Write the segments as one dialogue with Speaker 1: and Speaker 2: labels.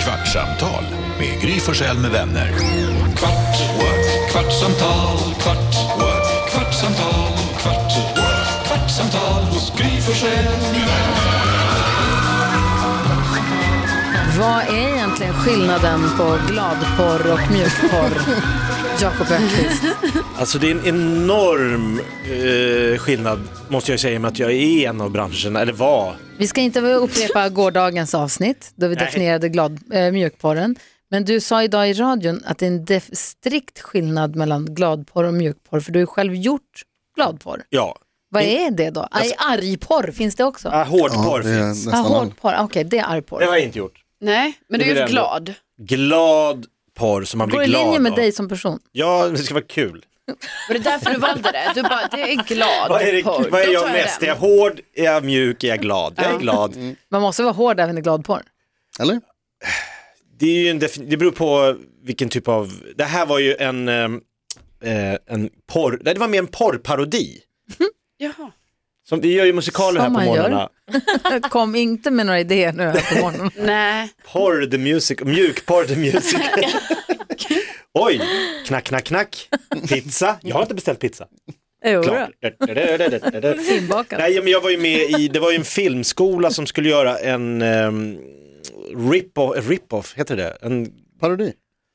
Speaker 1: kvartsamtal med Gry Forssell med vänner. Kvart, what? kvartsamtal, kvart, what? kvartsamtal, kvart, what? kvartsamtal hos Gry Forssell med vänner.
Speaker 2: Vad är egentligen skillnaden på gladporr och mjukporr? Jakob Öqvist.
Speaker 3: Alltså det är en enorm eh, skillnad måste jag säga i och med att jag är en av branscherna, eller var.
Speaker 2: Vi ska inte upprepa gårdagens avsnitt då vi
Speaker 3: Nej.
Speaker 2: definierade glad, eh, mjukporren. Men du sa idag i radion att det är en def- strikt skillnad mellan gladporr och mjukporr för du har ju själv gjort gladporr.
Speaker 3: Ja.
Speaker 2: Vad
Speaker 3: Mm.
Speaker 2: är det då? Alltså, argporr, finns det också?
Speaker 3: Ah, hårdporr
Speaker 4: Ja, det är
Speaker 3: finns.
Speaker 4: nästan
Speaker 2: Ah,
Speaker 4: all...
Speaker 2: hårdporr, okej det är argporr.
Speaker 3: Det har jag inte gjort.
Speaker 5: Nej, men du
Speaker 3: Det
Speaker 5: är
Speaker 3: blir
Speaker 5: ju
Speaker 3: ändå-
Speaker 5: glad.
Speaker 3: Glad porr som man
Speaker 2: Går
Speaker 3: blir
Speaker 2: i
Speaker 3: glad
Speaker 2: linje med
Speaker 3: av.
Speaker 2: dig som person?
Speaker 3: Ja, det ska vara kul.
Speaker 5: Var det därför du valde det? Du bara, det är glad
Speaker 3: Vad är, det,
Speaker 5: porr.
Speaker 3: vad är
Speaker 5: Då
Speaker 3: jag
Speaker 5: tar
Speaker 3: mest? Är
Speaker 5: den.
Speaker 3: jag hård? Är jag mjuk? Är jag glad? Jag är glad.
Speaker 4: Mm.
Speaker 2: Man måste vara hård även i gladporr.
Speaker 4: Eller?
Speaker 3: Det, är ju en defin- det beror på vilken typ av, det här var ju en, eh, eh, en porr, nej det var mer en porrparodi.
Speaker 5: Jaha.
Speaker 3: Som, vi gör ju musikaler
Speaker 2: Som
Speaker 3: här på
Speaker 2: man gör.
Speaker 3: morgnarna.
Speaker 2: Kom inte med några idéer nu här på morgonen.
Speaker 5: Nej,
Speaker 3: Porr the music, mjukporr the music. Oj, knack, knack, knack. Pizza. Jag har inte beställt pizza.
Speaker 2: Jo,
Speaker 3: Klart.
Speaker 2: Inbakad.
Speaker 3: Nej, men jag var ju med i, det var ju en filmskola som skulle göra en ehm, rip-off, rip-off, heter det? En,
Speaker 4: Parodi?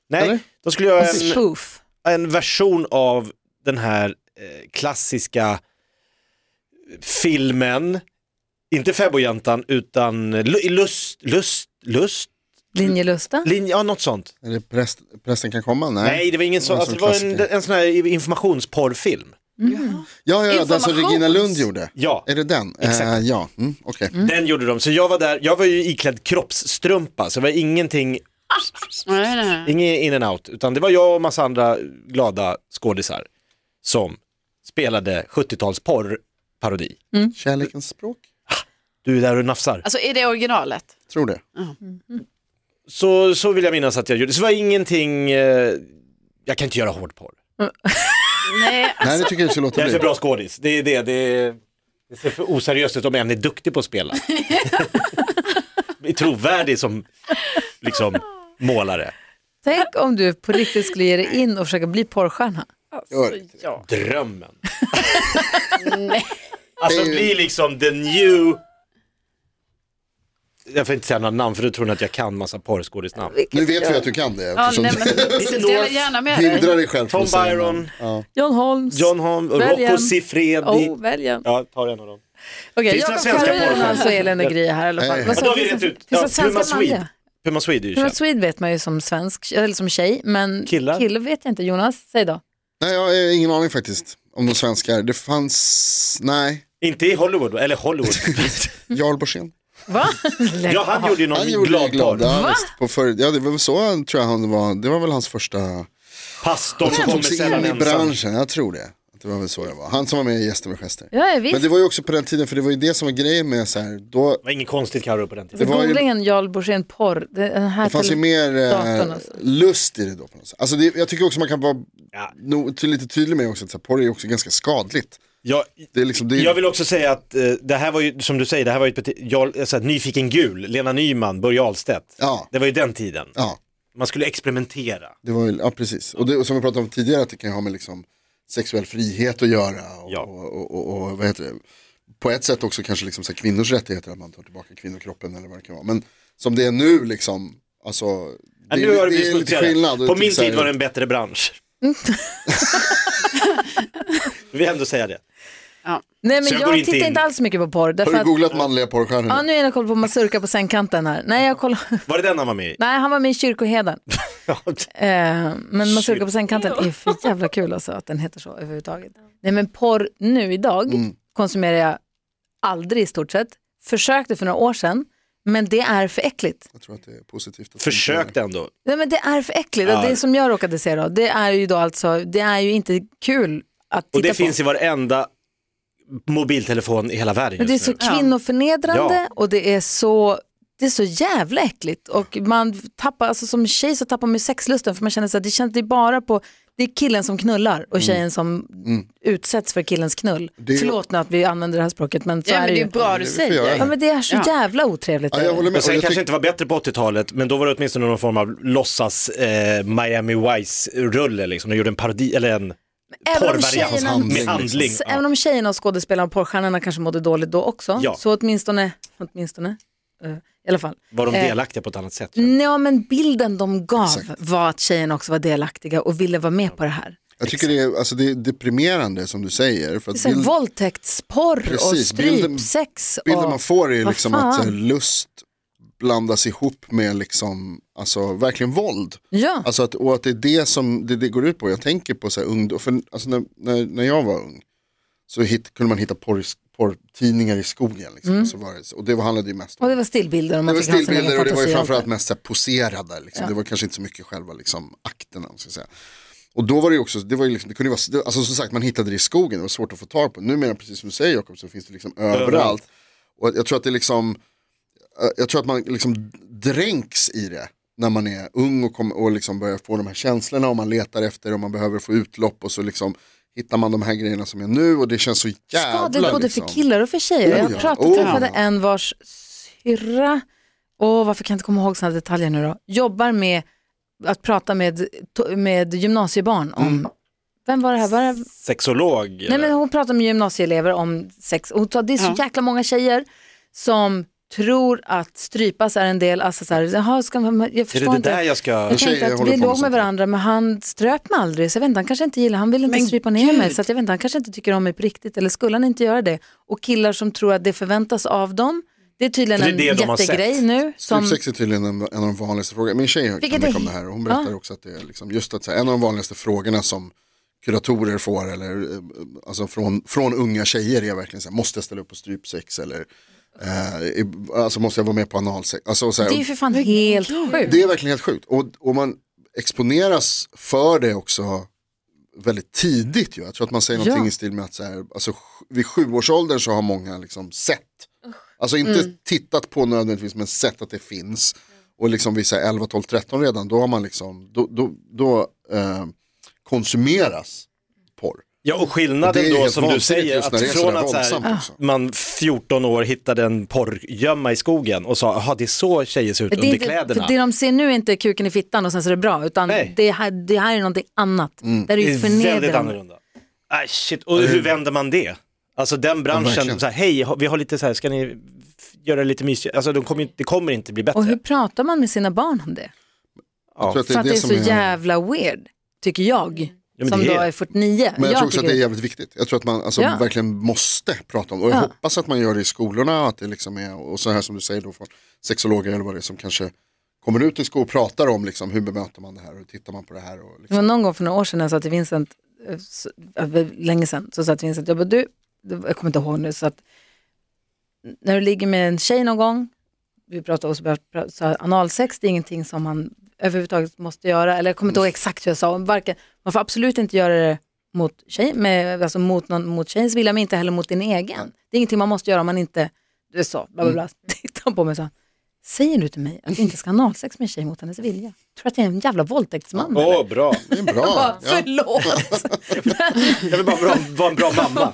Speaker 3: nej,
Speaker 4: Eller?
Speaker 3: de skulle göra
Speaker 2: En
Speaker 3: en,
Speaker 2: spoof.
Speaker 3: en version av den här eh, klassiska eh, filmen, inte Fäbodjäntan utan lu- lust, lust, lust,
Speaker 2: Linjelusten.
Speaker 3: linje, ja något sånt.
Speaker 4: Är det präst... Prästen kan komma? Nej.
Speaker 3: Nej, det var ingen sån,
Speaker 4: en
Speaker 3: alltså, det
Speaker 4: sån
Speaker 3: var en,
Speaker 4: klassiker.
Speaker 3: en sån här informationsporrfilm.
Speaker 4: Ja, ja, ja, den som
Speaker 5: Informations-
Speaker 4: Regina Lund gjorde.
Speaker 3: Ja,
Speaker 4: Är det den?
Speaker 3: Exakt.
Speaker 4: Eh, ja, mm, okej.
Speaker 3: den gjorde de. Så jag var där, jag var ju iklädd kroppsstrumpa, så det var ingenting,
Speaker 4: Mm.
Speaker 5: nej, nej.
Speaker 3: ingen in and out, utan det var jag och massa andra glada skådisar som spelade 70-talsporrparodi.
Speaker 4: Kärlekens språk?
Speaker 3: Du är där och nafsar.
Speaker 5: Alltså är det originalet?
Speaker 4: Tror det.
Speaker 3: Så, så vill jag minnas att jag gjorde, så det var ingenting, eh, jag kan inte göra hårdporr.
Speaker 5: Nej,
Speaker 4: Nej, det tycker jag inte ska låta
Speaker 3: Jag är för
Speaker 4: bli.
Speaker 3: bra skådis, det är det, det, är, det ser för oseriöst ut om en är duktig på att spela. är trovärdig som liksom målare.
Speaker 2: Tänk om du på riktigt skulle ge dig in och försöka bli porrstjärna.
Speaker 4: Gör
Speaker 5: alltså,
Speaker 4: inte
Speaker 5: ja.
Speaker 3: Drömmen.
Speaker 5: Nej.
Speaker 3: Alltså
Speaker 4: Det är ju-
Speaker 3: bli liksom the new... Jag får inte säga några namn för då tror ni att jag kan massa porrskådisnamn.
Speaker 4: Nu vet vi att du kan det.
Speaker 5: Ja,
Speaker 4: eftersom
Speaker 5: nej, men,
Speaker 3: Lite
Speaker 5: dela
Speaker 3: North,
Speaker 5: gärna med
Speaker 4: du hindrar
Speaker 5: dig.
Speaker 4: dig själv från
Speaker 3: Tom
Speaker 4: att säga
Speaker 3: Byron.
Speaker 4: namn. Ja.
Speaker 2: John Holmes.
Speaker 3: John Holm, Rocco
Speaker 2: Välj en.
Speaker 3: Siffredi.
Speaker 2: Oh, välj en.
Speaker 3: Ja, tar en av dem.
Speaker 2: Okej,
Speaker 3: Finns det
Speaker 2: Jakob
Speaker 3: några svenska
Speaker 2: Karolin
Speaker 3: porrstjärnor?
Speaker 2: alltså Elin och Gry här i alla fall.
Speaker 4: Nej.
Speaker 2: Vad sa
Speaker 3: Ja, då har vi
Speaker 2: du?
Speaker 3: rätt ut.
Speaker 2: Finns det
Speaker 3: Ja,
Speaker 2: svenska
Speaker 3: Puma Swede.
Speaker 2: manliga?
Speaker 3: Puma Swede är ju
Speaker 2: Puma
Speaker 3: känd.
Speaker 2: Swede vet man ju som svensk, eller som tjej, men
Speaker 3: Killar?
Speaker 2: kille vet jag inte. Jonas, säg då.
Speaker 4: Nej, jag har ingen aning faktiskt om de svenskar. Det fanns, nej,
Speaker 3: Inte i Hollywood, eller Hollywood.
Speaker 4: Jarl Borssén.
Speaker 2: Va?
Speaker 3: ja, han gjorde ju någon
Speaker 4: Han gjorde ju
Speaker 3: glad
Speaker 4: glad.
Speaker 3: porr.
Speaker 4: Ja, visst, på för, ja, det var väl så han- tror jag han var, det var väl hans första,
Speaker 3: Pastorn
Speaker 4: han
Speaker 3: kommer
Speaker 4: tog sig
Speaker 3: sällan
Speaker 4: in i
Speaker 3: ensam.
Speaker 4: branschen, jag tror det. Det var väl så det var. Han som var med i Gäster med gester.
Speaker 2: Ja, ja, visst.
Speaker 4: Men det var ju också på den tiden, för det var ju det som var grejen med så här, då,
Speaker 3: Det var inget konstigt Carro på den tiden.
Speaker 4: det var ju-
Speaker 2: Googlingen Jarl Borssén porr. Det, den här
Speaker 4: det fanns ju
Speaker 2: tele-
Speaker 4: mer
Speaker 2: datorn
Speaker 4: eh,
Speaker 2: alltså.
Speaker 4: lust i det då. På något sätt. Alltså det, jag tycker också man kan vara
Speaker 3: Ja.
Speaker 4: nog ty- lite tydlig med också att så här, porr är också ganska skadligt.
Speaker 3: Jag,
Speaker 4: Det är liksom, det är,
Speaker 3: jag vill också säga att eh, det här var ju, som du säger, det här var ju ett bete- jag, alltså, att Nyfiken Gul, Lena Nyman, Börje Ahlstedt.
Speaker 4: Ja.
Speaker 3: Det var ju den tiden.
Speaker 4: ja,
Speaker 3: Man skulle experimentera.
Speaker 4: det var ju, ja precis. Och, det, och som vi pratade om tidigare, att det kan ju ha med liksom sexuell frihet att göra. Och,
Speaker 3: Ja.
Speaker 4: och, och, och, och vad heter det? På ett sätt också kanske liksom så här, kvinnors rättigheter, att man tar tillbaka kvinnokroppen eller vad det kan vara. Men som det är nu liksom, alltså,
Speaker 3: Ja,
Speaker 4: det,
Speaker 3: nu har det
Speaker 4: det
Speaker 3: blivit
Speaker 4: är lite
Speaker 3: smutsigare.
Speaker 4: skillnad. Och
Speaker 3: På
Speaker 4: typ
Speaker 3: min
Speaker 4: så här-
Speaker 3: tid var det en bättre bransch. Vi vill ändå säga det.
Speaker 2: Nej, men
Speaker 3: Så jag
Speaker 2: jag,
Speaker 3: går inte
Speaker 2: tittar
Speaker 3: in.
Speaker 2: inte alls så mycket på porr. Därför
Speaker 4: Har du
Speaker 2: att,
Speaker 4: googlat manliga porrstjärnor?
Speaker 2: ja, nu är jag koll på Mazurka på sängkanten här. Nej, jag kollar.
Speaker 3: Var det den han var med i?
Speaker 2: Nej, han var med i Kyrkoheden.
Speaker 3: Ja,
Speaker 4: typ.
Speaker 2: Eh, men Mazurka på sängkanten är för jävla kul alltså att den heter så överhuvudtaget. Nej men porr nu idag
Speaker 3: Mm.
Speaker 2: konsumerar jag aldrig i stort sett. Försökte för några år sedan, men det är för äckligt.
Speaker 4: Jag tror att det är positivt. Att
Speaker 3: Försökte ändå.
Speaker 2: Nej men det är för äckligt.
Speaker 3: Ja.
Speaker 2: Det som jag råkade se då, det är ju då alltså, det är ju inte kul att titta
Speaker 3: Och det
Speaker 2: på.
Speaker 3: finns i varenda mobiltelefon i hela världen
Speaker 2: Men det är
Speaker 3: just
Speaker 2: så
Speaker 3: nu.
Speaker 2: kvinnoförnedrande
Speaker 3: Ja.
Speaker 2: och det är så det är så jävla äckligt och man tappar, alltså som tjej så tappar man ju sexlusten för man känner så att det känns det är bara på, det Det är killen som knullar och tjejen som utsätts för killens knull.
Speaker 4: Det är-
Speaker 2: Förlåt nu att vi använder det här språket men så
Speaker 5: Ja,
Speaker 2: är
Speaker 5: men
Speaker 2: det
Speaker 5: det är
Speaker 2: ju.
Speaker 5: bra du
Speaker 4: vi får göra
Speaker 5: säger.
Speaker 2: Ja men det är så
Speaker 5: Ja.
Speaker 2: jävla otrevligt.
Speaker 4: Ja, jag håller med.
Speaker 3: Och sen
Speaker 4: Och jag
Speaker 3: kanske
Speaker 4: tyck-
Speaker 3: inte var bättre på 80-talet, men då var det åtminstone någon form av låtsas eh, Miami Vice-rulle liksom. De gjorde en parodi, eller en
Speaker 2: Även om
Speaker 3: porrvariant
Speaker 2: tjejerna,
Speaker 4: handling,
Speaker 3: med
Speaker 4: liksom.
Speaker 3: handling.
Speaker 2: s-
Speaker 3: Ja.
Speaker 2: även om tjejerna och skådespelarna och porrstjärnorna kanske mådde dåligt då också.
Speaker 3: Ja.
Speaker 2: Så åtminstone, åtminstone, eh, i alla fall.
Speaker 3: Var de
Speaker 2: Eh, Mm,
Speaker 3: delaktiga på ett annat sätt?
Speaker 2: Ja men bilden de gav
Speaker 4: Exakt.
Speaker 2: var att tjejerna också var delaktiga och ville vara med på det här.
Speaker 4: Jag tycker det är, alltså, det är deprimerande som du säger. För
Speaker 2: Det är
Speaker 4: att
Speaker 2: så här,
Speaker 4: bild,
Speaker 2: Våldtäktsporr och
Speaker 4: Precis, bilden-
Speaker 2: strypsex.
Speaker 4: bilden
Speaker 2: och-
Speaker 4: man får är ju
Speaker 2: Vad
Speaker 4: liksom att så här,
Speaker 2: fan?
Speaker 4: lust blandas ihop med liksom, alltså verkligen våld.
Speaker 2: Ja.
Speaker 4: Alltså att, och att det är det som det, det går ut på. Jag tänker på så här ungdom, för alltså när, när, när jag var ung så hit, kunde man hitta porr, porrtidningar i skogen. Liksom, så var det, så- och det var- handlade ju mest om
Speaker 2: Mm. Och det var stillbilder om
Speaker 4: det
Speaker 2: man
Speaker 4: var
Speaker 2: fick ha sina
Speaker 4: stillbilder
Speaker 2: egna
Speaker 4: och det var ju
Speaker 2: fantasier.
Speaker 4: framförallt mest så här poserade. Liksom. Det var kanske inte så mycket själva liksom, akterna. om man Ska säga. Och då var det ju också, det, var ju liksom, det kunde ju vara, alltså, som sagt man hittade det i skogen, det var svårt att få tag på. Numera, precis som du säger Jakob, så finns det liksom överallt. Och jag tror att det liksom, eh, jag tror att man liksom dränks i det när man är ung och, kommer- och liksom börjar få de här känslorna och man letar efter och man behöver få utlopp och så liksom hittar man de här grejerna som är nu och det känns så jävla
Speaker 2: Skadligt både
Speaker 4: liksom.
Speaker 2: för killar och för tjejer.
Speaker 4: Oh,
Speaker 2: jag
Speaker 4: ja.
Speaker 2: pratade,
Speaker 4: Oh,
Speaker 2: träffade
Speaker 4: ja.
Speaker 2: en vars syrra, åh varför kan jag inte komma ihåg sådana detaljer nu då, jobbar med att prata med, med gymnasiebarn om,
Speaker 4: Mm.
Speaker 2: vem var det här, var det,
Speaker 3: Sexolog?
Speaker 2: Nej, men
Speaker 3: eller?
Speaker 2: hon pratar med gymnasieelever om sex. Hon sa, det är så
Speaker 5: Ja.
Speaker 2: jäkla många tjejer som tror att strypas är en del, alltså så här, jaha, ska man, jag
Speaker 3: är det
Speaker 2: förstår
Speaker 3: det
Speaker 2: inte.
Speaker 3: där jag ska...
Speaker 2: Jag tänkte
Speaker 4: Tjejer
Speaker 2: att vi
Speaker 4: håller på med
Speaker 2: låg med
Speaker 4: sånt.
Speaker 2: varandra men han ströp mig aldrig så jag vet inte, han kanske inte gillar, han vill inte
Speaker 5: Men
Speaker 2: strypa ner
Speaker 5: gud.
Speaker 2: mig så att jag vet inte, han kanske inte tycker om mig på riktigt eller skulle han inte göra det? Och killar som tror att det förväntas av dem, det är tydligen
Speaker 3: För det är det
Speaker 2: en
Speaker 3: de har
Speaker 2: jättegrej
Speaker 3: sett.
Speaker 2: nu. Som,
Speaker 4: Strypsex är tydligen en, en av de vanligaste frågorna. Min tjej kan
Speaker 2: Vilket
Speaker 4: mycket
Speaker 2: är-
Speaker 4: om det här och hon berättar
Speaker 2: Ja.
Speaker 4: också att det är liksom just att så här, en av de vanligaste frågorna som kuratorer får eller eh, alltså från, från unga tjejer är verkligen så här, måste jag ställa upp på strypsex eller eh, i- alltså måste jag vara med på analsex. Alltså, så här,
Speaker 2: det är ju för fan helt sjukt.
Speaker 4: det är verkligen helt sjukt och, och man exponeras för det också väldigt tidigt ju. Jag tror att man säger
Speaker 2: Ja.
Speaker 4: någonting i stil med att så här, alltså, sj- vid sjuårsåldern så har många liksom sett. Alltså inte
Speaker 2: Mm.
Speaker 4: tittat på nödvändigtvis men sett att det finns. Och liksom vid så här 11, 12, 13 redan då har man liksom, då, då, då eh, konsumeras porr.
Speaker 3: Ja, och
Speaker 4: Och det är
Speaker 3: skillnaden
Speaker 4: ju
Speaker 3: då
Speaker 4: helt
Speaker 3: som du
Speaker 4: vansinnigt
Speaker 3: säger,
Speaker 4: just när
Speaker 3: att
Speaker 4: det är
Speaker 3: från
Speaker 4: sådär
Speaker 3: att så
Speaker 4: våldsamt
Speaker 3: här,
Speaker 4: också.
Speaker 3: man 14 år hittade en porrgömma i skogen och sa, jaha det är så tjejer ser ut
Speaker 2: Det, är
Speaker 3: under
Speaker 2: inte,
Speaker 3: kläderna.
Speaker 2: för det de ser nu är inte kuken i fittan och sen så är det bra, utan
Speaker 3: Nej. Mm.
Speaker 2: det här, det här är någonting annat. Där det är ju
Speaker 3: väldigt
Speaker 2: förnedrande.
Speaker 3: annorlunda. Aj, shit. Och hur vänder man det? Alltså den branschen,
Speaker 4: verkligen.
Speaker 3: så här, hej, ha- vi har lite så här, ska ni f- göra det lite mysigt? Alltså de kommer, ju- det kommer inte bli bättre.
Speaker 2: Och hur pratar man med sina barn om det?
Speaker 4: Jag tror att det
Speaker 2: För
Speaker 4: är
Speaker 2: att
Speaker 4: det,
Speaker 2: det är
Speaker 4: som
Speaker 2: så
Speaker 4: är...
Speaker 2: jävla weird, tycker jag.
Speaker 3: men
Speaker 2: Som
Speaker 3: det
Speaker 2: då
Speaker 3: är-
Speaker 2: är 49.
Speaker 4: Men jag, tror också
Speaker 2: tycker
Speaker 4: att det är jävligt viktigt. Jag tror att man alltså,
Speaker 2: Ja.
Speaker 4: verkligen måste prata om det. Och jag
Speaker 2: Ja.
Speaker 4: hoppas att man gör det i skolorna och att det liksom är, och så här som du säger då från sexologer eller vad det är som kanske kommer ut i skolan och pratar om liksom, hur bemöter man det här och hur tittar man på det här. Och
Speaker 2: Det var
Speaker 4: liksom.
Speaker 2: någon gång för några år sedan när jag sa till Vincent, eh, så- ja, väl länge sedan, så sa jag till Vincent, jag bara du, det- jag kommer inte ihåg nu, så att när du ligger med en tjej någon gång, vi pratade också, så här, analsex det är ingenting som man överhuvudtaget måste göra, eller jag kommer inte ihåg exakt hur jag sa, varken, man får absolut inte göra det mot, tjej, med, alltså mot, någon, mot tjejens vilja, men inte heller mot din egen. Det är ingenting man måste göra om man inte, du är så, bla bla bla, tittar han på mig och sa, säger du till mig att du inte ska ha analsex med en tjej mot hennes vilja? Tror du att jag är en jävla våldtäktsman? eller?"
Speaker 3: Åh, bra.
Speaker 4: Det är bra.
Speaker 2: Bara,
Speaker 4: Ja.
Speaker 2: Förlåt.
Speaker 3: Jag vill bara bra, vara en bra mamma.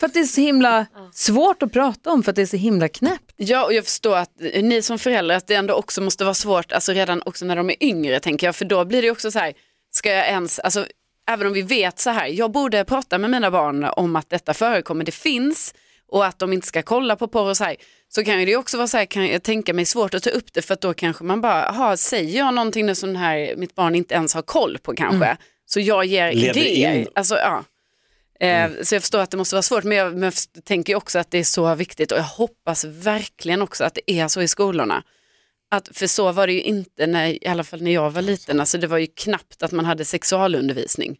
Speaker 2: för att det är så himla svårt att prata om för att det är så himla knäppt.
Speaker 5: Ja, och jag förstår att eh, ni som föräldrar att det ändå också måste vara svårt, alltså redan också när de är yngre tänker jag, för då blir det ju också så här, ska jag ens, alltså även om vi vet så här, jag borde prata med mina barn om att detta förekommer, det finns och att de inte ska kolla på porr och så här, så kan ju det också vara så här, kan jag tänka mig svårt att ta upp det för att då kanske man bara, jaha, säger jag någonting nu som den här, mitt barn inte ens har koll på kanske, så jag ger
Speaker 3: Mm. Leder
Speaker 5: idéer.
Speaker 3: in.
Speaker 5: Alltså, ja. Eh, Så jag förstår att det måste vara svårt, men jag, men jag f- tänker ju också att det är så viktigt och jag hoppas verkligen också att det är så i skolorna. Att, för så var det ju inte, när, i alla fall när jag var liten, alltså det var ju knappt att man hade sexualundervisning.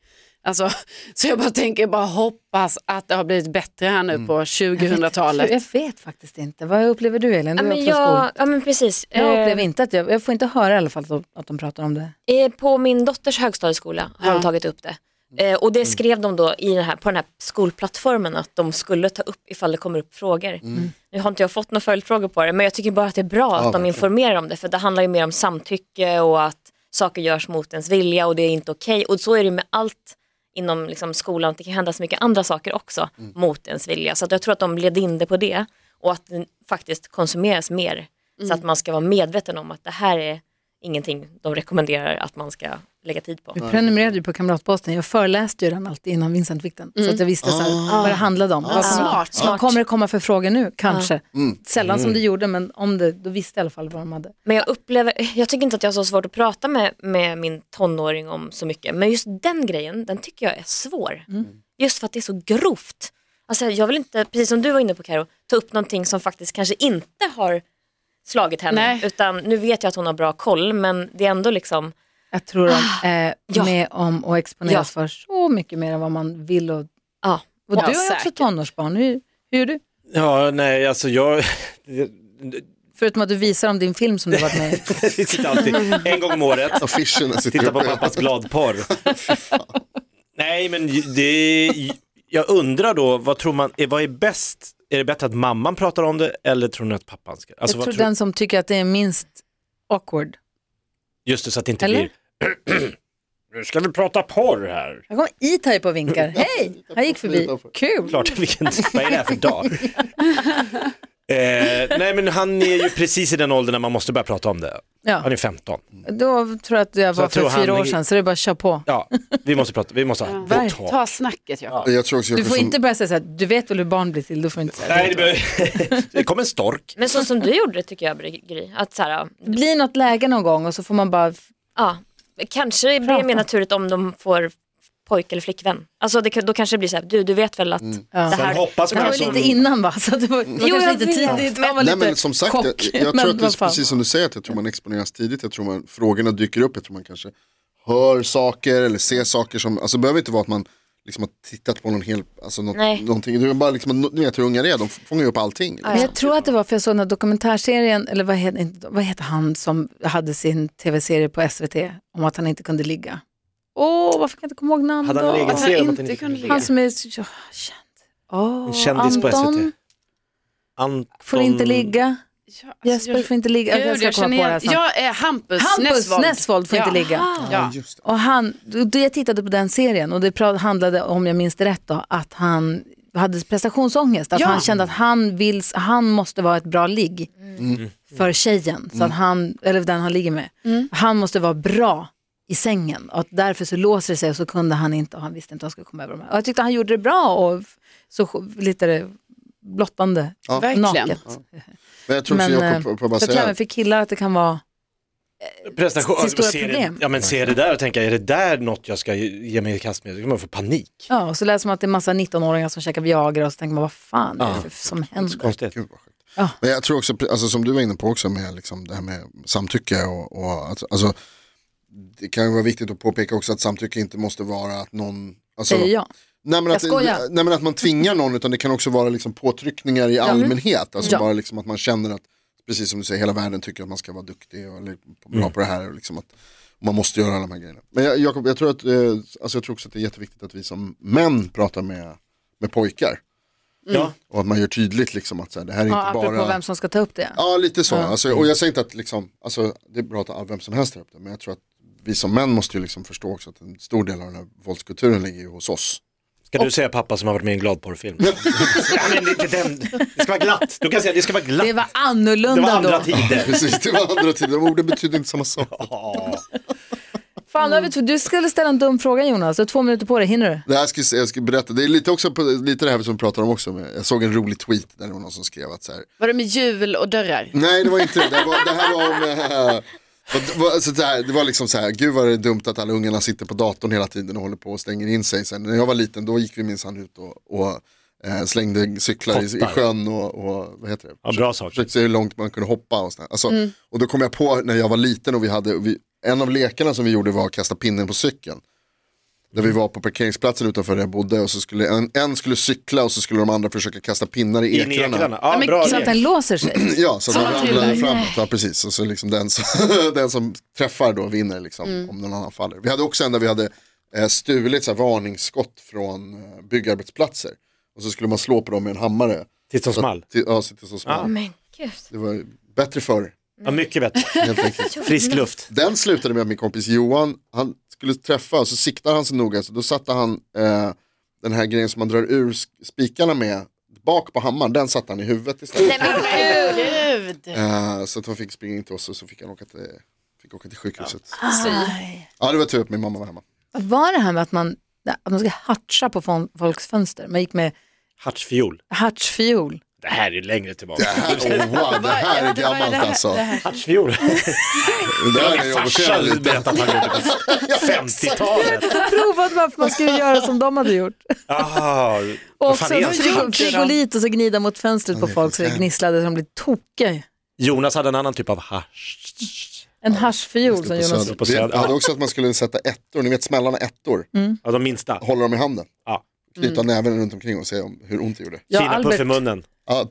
Speaker 5: Alltså, så jag bara tänker, jag bara hoppas att det har blivit bättre här nu på
Speaker 2: Jag
Speaker 5: 2000-talet.
Speaker 2: vet- Jag vet faktiskt inte. Vad upplever du Elin?
Speaker 6: Ja,
Speaker 2: Du är
Speaker 6: men
Speaker 2: också jag...
Speaker 6: jag, ja men precis.
Speaker 2: jag
Speaker 6: Eh,
Speaker 2: upplever inte att jag, jag får inte höra i alla fall att de, att de pratar om det.
Speaker 6: eh, På min dotters högstadieskola har
Speaker 5: Ja.
Speaker 6: de tagit upp det. Eh, och det skrev de då i den här, på den här skolplattformen att de skulle ta upp ifall det kommer upp frågor. Nu har inte jag fått några följdfrågor på det men jag tycker bara att det är bra att de
Speaker 4: verkligen.
Speaker 6: informerar om det för det handlar ju mer om samtycke och att saker görs mot ens vilja och det är inte okej. Och så är det med allt inom liksom, skolan, det kan hända så mycket andra saker också mot ens vilja. Så att jag tror att de led in det på det och att den faktiskt konsumeras mer. Så att man ska vara medveten om att det här är ingenting de rekommenderar att man ska lägga tid på.
Speaker 2: Vi prenumererade ju på Kamratposten, jag föreläste ju den alltid innan Vincentvikten. Så att jag visste så här, vad det handlade om. Vad som-
Speaker 5: Smart,
Speaker 2: Vad kommer det komma för frågor nu, kanske? Sällan som det gjorde, men om det, då visste jag i alla fall vad de hade.
Speaker 6: Men jag upplever, jag tycker inte att jag har så svårt att prata med, med min tonåring om så mycket. Men just den grejen, den tycker jag är svår.
Speaker 2: Mm.
Speaker 6: Just för att det är så grovt. Alltså jag vill inte, precis som du var inne på Karo, ta upp någonting som faktiskt kanske inte har slagit henne.
Speaker 5: Nej.
Speaker 6: Utan nu vet jag att hon har bra koll men det är ändå liksom,
Speaker 2: Jag tror de är
Speaker 6: ja.
Speaker 2: med om och exponeras
Speaker 6: Ja.
Speaker 2: för så mycket mer än vad man vill. Och,
Speaker 6: ja.
Speaker 2: och
Speaker 5: Ja,
Speaker 2: du har ju också
Speaker 5: säkert.
Speaker 2: tonårsbarn, hur, hur är du?
Speaker 3: Ja, nej, alltså jag...
Speaker 2: Förutom att du visar om din film som du varit med i.
Speaker 4: Alltså,
Speaker 3: Det sitter alltid en gång om året.
Speaker 4: Affischerna sitter
Speaker 3: Titta på
Speaker 4: uppe.
Speaker 3: pappas gladporr. Nej, men det... Jag undrar då, vad tror man, är- vad är bäst? Är det bättre att mamman pratar om det eller tror ni att pappan ska? Alltså,
Speaker 2: jag
Speaker 3: vad
Speaker 2: tror
Speaker 3: tror-
Speaker 2: den som tycker att det är minst awkward.
Speaker 3: Just det, så att det inte
Speaker 2: Eller?
Speaker 3: blir... nu ska vi prata porr här.
Speaker 2: Här kommer E-Type och vinkar. Hej! Han gick förbi. Kul!
Speaker 3: Klart, vilken, vad är det här för dag? eh, nej, men han är ju precis i den åldern när man måste börja prata om det. Han
Speaker 2: Ja,
Speaker 3: är 15.
Speaker 2: då tror jag att jag
Speaker 3: Så
Speaker 2: var
Speaker 3: jag tror
Speaker 2: för fyra
Speaker 3: han-
Speaker 2: år sedan, så det är bara att köra på.
Speaker 3: Ja, vi måste prata, vi måste ha
Speaker 2: Verkligen.
Speaker 3: vårt tal.
Speaker 5: Ta snacket Jakob.
Speaker 4: Jag tror också jag
Speaker 2: Du får
Speaker 4: som-
Speaker 2: inte börja säga så här, du vet väl hur barn blir till, då får du inte säga
Speaker 3: Nej, det,
Speaker 2: det.
Speaker 3: behöver- det kom en stork.
Speaker 6: Men så som du gjorde det tycker jag Gry, att så här,
Speaker 2: Det blir något läge någon gång och så får man bara
Speaker 6: ja, kanske det blir mer naturligt om de får pojk eller flickvän. Alltså det, kan- då kanske det blir så här, du, du vet väl att det
Speaker 3: Sen
Speaker 6: här
Speaker 3: hoppas
Speaker 2: Det
Speaker 3: man
Speaker 2: var
Speaker 3: som-
Speaker 2: lite innan va? Så det var, det var
Speaker 6: Jo,
Speaker 2: kanske
Speaker 6: jag
Speaker 2: lite
Speaker 6: vet.
Speaker 2: tidigt. Man var lite
Speaker 4: Alltså, Nej men som sagt,
Speaker 2: chock.
Speaker 4: jag, jag
Speaker 2: Men
Speaker 4: tror att det
Speaker 2: vad
Speaker 4: är
Speaker 2: fan.
Speaker 4: precis som du säger, att jag tror man exponeras tidigt, jag tror man, frågorna dyker upp, jag tror man kanske hör saker eller ser saker som, alltså det behöver inte vara att man liksom har tittat på någon hel, alltså något,
Speaker 6: Nej.
Speaker 4: någonting, det är bara liksom, ni vet hur unga det är, de fångar ju upp allting. Liksom.
Speaker 2: Men jag tror att det var för jag såg den här dokumentärserien, eller vad heter, inte- vad heter han som hade sin tv-serie på SVT om att han inte kunde ligga? Åh, varför kan jag inte komma ihåg namn
Speaker 3: Hade han en
Speaker 2: då? Alltså,
Speaker 3: egen serie om
Speaker 5: han
Speaker 3: att
Speaker 5: inte
Speaker 3: den inte
Speaker 5: kunde
Speaker 3: kunde
Speaker 5: ligga?
Speaker 2: Han som är så- ja, känd. Åh,
Speaker 3: En kändis på
Speaker 2: Anton
Speaker 3: SVT. Anton...
Speaker 2: får inte ligga,
Speaker 5: Ja, alltså,
Speaker 2: Jesper får inte ligga.
Speaker 5: Gud,
Speaker 2: jag ska komma
Speaker 5: känner
Speaker 2: på det här
Speaker 5: igen-
Speaker 2: snabbt.
Speaker 5: Jag är Hampus,
Speaker 2: Hampus Nessvold,
Speaker 5: Nessvold.
Speaker 2: får
Speaker 5: Ja.
Speaker 2: inte ligga.
Speaker 5: Ja.
Speaker 4: Just det.
Speaker 2: Och han, då- då jag tittade på den serien och det pra- handlade, om jag minns det rätt, då, att han hade prestationsångest. Att
Speaker 5: Ja.
Speaker 2: han kände att han, vill, han måste vara ett bra ligg
Speaker 5: Mm.
Speaker 2: för tjejen, så att han, eller den han ligger med.
Speaker 5: Mm.
Speaker 2: Han måste vara bra i sängen och att därför så låser det sig och så kunde han inte och han visste inte hur han skulle komma över de här. Och jag tyckte han gjorde det bra och f- så sj- lite blottande,
Speaker 4: Ja.
Speaker 5: Verkligen.
Speaker 2: naket.
Speaker 4: Men jag tror också,
Speaker 2: Men,
Speaker 4: jag
Speaker 2: eh,
Speaker 4: kom på, på bara
Speaker 2: Så att
Speaker 4: säga,
Speaker 2: även för killar att det kan vara,
Speaker 3: Prestation.
Speaker 2: Till stora
Speaker 3: ser
Speaker 2: problem.
Speaker 3: Det, ja men ser det där och tänka, är det där något jag ska ge ge mig i kast med? Då kommer man få panik.
Speaker 2: ja och så läser man att det är massa 19-åringar som käkar Viagra och så tänker man vad fan är det
Speaker 3: Ja.
Speaker 2: för, som händer?
Speaker 3: Konstigt.
Speaker 4: Gud, vad sjukt.
Speaker 2: Ja.
Speaker 4: Men jag tror också, alltså, som du var inne på också med liksom, det här med samtycke och, och att- alltså, det kan ju vara viktigt att påpeka också att samtycke inte måste vara att någon, alltså,
Speaker 2: Säger jag.
Speaker 4: Nej men,
Speaker 2: Jag
Speaker 4: att,
Speaker 2: skojar.
Speaker 4: nej men att man tvingar någon utan det kan också vara liksom påtryckningar i allmänhet. Alltså
Speaker 2: Ja.
Speaker 4: bara liksom att man känner att, precis som du säger, hela världen tycker att man ska vara duktig och eller, bra på det här. Och liksom att man måste göra alla de här grejerna. Men jag, Jakob, jag tror, att, eh, alltså jag tror också att det är jätteviktigt att vi som män pratar med, med pojkar.
Speaker 3: Ja.
Speaker 4: Och att man gör tydligt liksom att så här, det här är
Speaker 2: Mm. Ja,
Speaker 4: inte
Speaker 2: apropå
Speaker 4: bara...
Speaker 2: vem som ska ta upp det.
Speaker 4: Ja, lite så. Alltså, och jag säger inte att liksom, alltså, det är bra att all- vem som helst tar upp det, men jag tror att vi som män måste ju liksom förstå också att en stor del av den här våldskulturen ligger ju hos oss.
Speaker 3: Ska du säga pappa som har varit med i en glad porrfilm? ja, men det, är inte den. det ska vara glatt. Du kan säga det ska vara glatt.
Speaker 2: Det var
Speaker 3: Det var
Speaker 2: annorlunda
Speaker 3: andra
Speaker 2: då.
Speaker 3: tider.
Speaker 4: Precis, det var andra tider. Orden betyder inte samma sak.
Speaker 3: Ja.
Speaker 2: Fan, nu har vi två- du skulle ställa en dum fråga Jonas, du har två minuter på dig, hinner du?
Speaker 4: Det här ska jag- jag ska berätta. Det är lite, också på, lite det här som vi pratar om också. men Jag såg en rolig tweet där det var någon som skrev att så här.
Speaker 5: Var det med hjul och dörrar?
Speaker 4: Nej, det var inte det. Det, var, det här var om... eh, vad- vad- så det, här, det var liksom så här, gud vad det är dumt att alla ungarna sitter på datorn hela tiden och håller på och stänger in sig. Sen, när jag var liten då gick vi minsann ut och, och eh, slängde cyklar i, i
Speaker 3: Kottar.
Speaker 4: sjön och, och vad heter det?
Speaker 3: Ja, bra sak.
Speaker 4: Försökte se hur långt man kunde hoppa och sådär. Alltså,
Speaker 5: Mm.
Speaker 4: Och då kom jag på när jag var liten och vi hade, vi, en av lekarna som vi gjorde var att kasta pinnen på cykeln. Där vi var på parkeringsplatsen utanför där jag bodde och så skulle en, en skulle cykla och så skulle de andra försöka kasta pinnar i
Speaker 3: In i ekrarna. Ja, bra
Speaker 2: Så att
Speaker 3: idé.
Speaker 2: den låser sig.
Speaker 4: Ja, så att
Speaker 5: Som
Speaker 4: man
Speaker 5: man trillar.
Speaker 4: ramlar framåt. Ja, precis. Och så liksom den, som, den som träffar då vinner liksom,
Speaker 5: Mm.
Speaker 4: om någon annan faller. Vi hade också en där vi hade eh, stulit så här, varningsskott från eh, byggarbetsplatser. Och så skulle man slå på dem med en hammare.
Speaker 3: Tills de small. Ah.
Speaker 4: Till, ja, så till så small.
Speaker 6: Men gud.
Speaker 4: Det var ju bättre förr.
Speaker 3: Ja, mycket bättre.
Speaker 4: Helt enkelt.
Speaker 3: Frisk luft.
Speaker 4: Den slutade med att min kompis Johan, han skulle träffa och så siktade han sig noga så då satte han eh, den här grejen som man drar ur sk- spikarna med bak på hammaren, den satte han i huvudet istället.
Speaker 6: Nej men gud!
Speaker 5: Gud.
Speaker 4: Eh, så att han fick springa in till oss och så fick han åka till, fick åka till sjukhuset. Ja. det var tur att min mamma var hemma.
Speaker 2: Vad var det här med att man, att man ska hartsa på fol- folks fönster? Man gick med
Speaker 3: Hartsfiol.
Speaker 2: hartsfiol.
Speaker 3: Det här är längre tillbaka.
Speaker 4: Det här, oh, wow, det här är gammalt alltså.
Speaker 3: Hartsfiol.
Speaker 4: Det där är
Speaker 3: Min
Speaker 4: jag
Speaker 3: farsa
Speaker 4: känner lite.
Speaker 3: berättade att han gjorde det. 50-talet.
Speaker 2: Provat varför man skulle göra som de hade gjort.
Speaker 3: Jaha.
Speaker 2: Och
Speaker 3: Ah, Vad fan
Speaker 2: så
Speaker 3: är det?
Speaker 5: gjorde de?
Speaker 2: frigolit och så gnida mot fönstret på folk så det gnisslade så de blev tokiga.
Speaker 3: Jonas hade en annan typ av hasch.
Speaker 2: En haschfiol som
Speaker 4: På
Speaker 2: Jonas...
Speaker 4: Söder.
Speaker 3: på Söder.
Speaker 4: Vi hade också att man skulle sätta ettor, ni vet smällarna ettor,
Speaker 3: Ja, de minsta.
Speaker 4: hålla dem i handen,
Speaker 3: Ja.
Speaker 4: knyta näven runt omkring och se om, hur ont det gjorde.
Speaker 2: Ja,
Speaker 3: Kinapuff i munnen.
Speaker 4: Ja,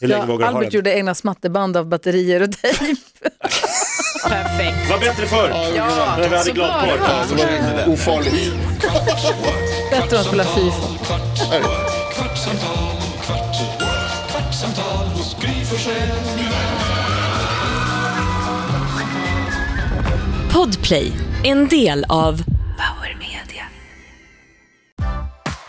Speaker 3: Hur länge
Speaker 2: Ja,
Speaker 3: vågar du ha
Speaker 2: Albert
Speaker 3: den?
Speaker 2: gjorde egna smatterband av batterier och tejp.
Speaker 5: Perfekt.
Speaker 3: Var bättre förr.
Speaker 5: Ja,
Speaker 3: När vi hade
Speaker 5: så bra det
Speaker 3: gladporr.
Speaker 4: alltså, det var ofarligt.
Speaker 2: Bättre att spela Fifa.
Speaker 1: Kvartsamtal, kvart, what? kvartsamtal hos Gry Forssell med vänner.
Speaker 7: Podplay, en del av Power Media.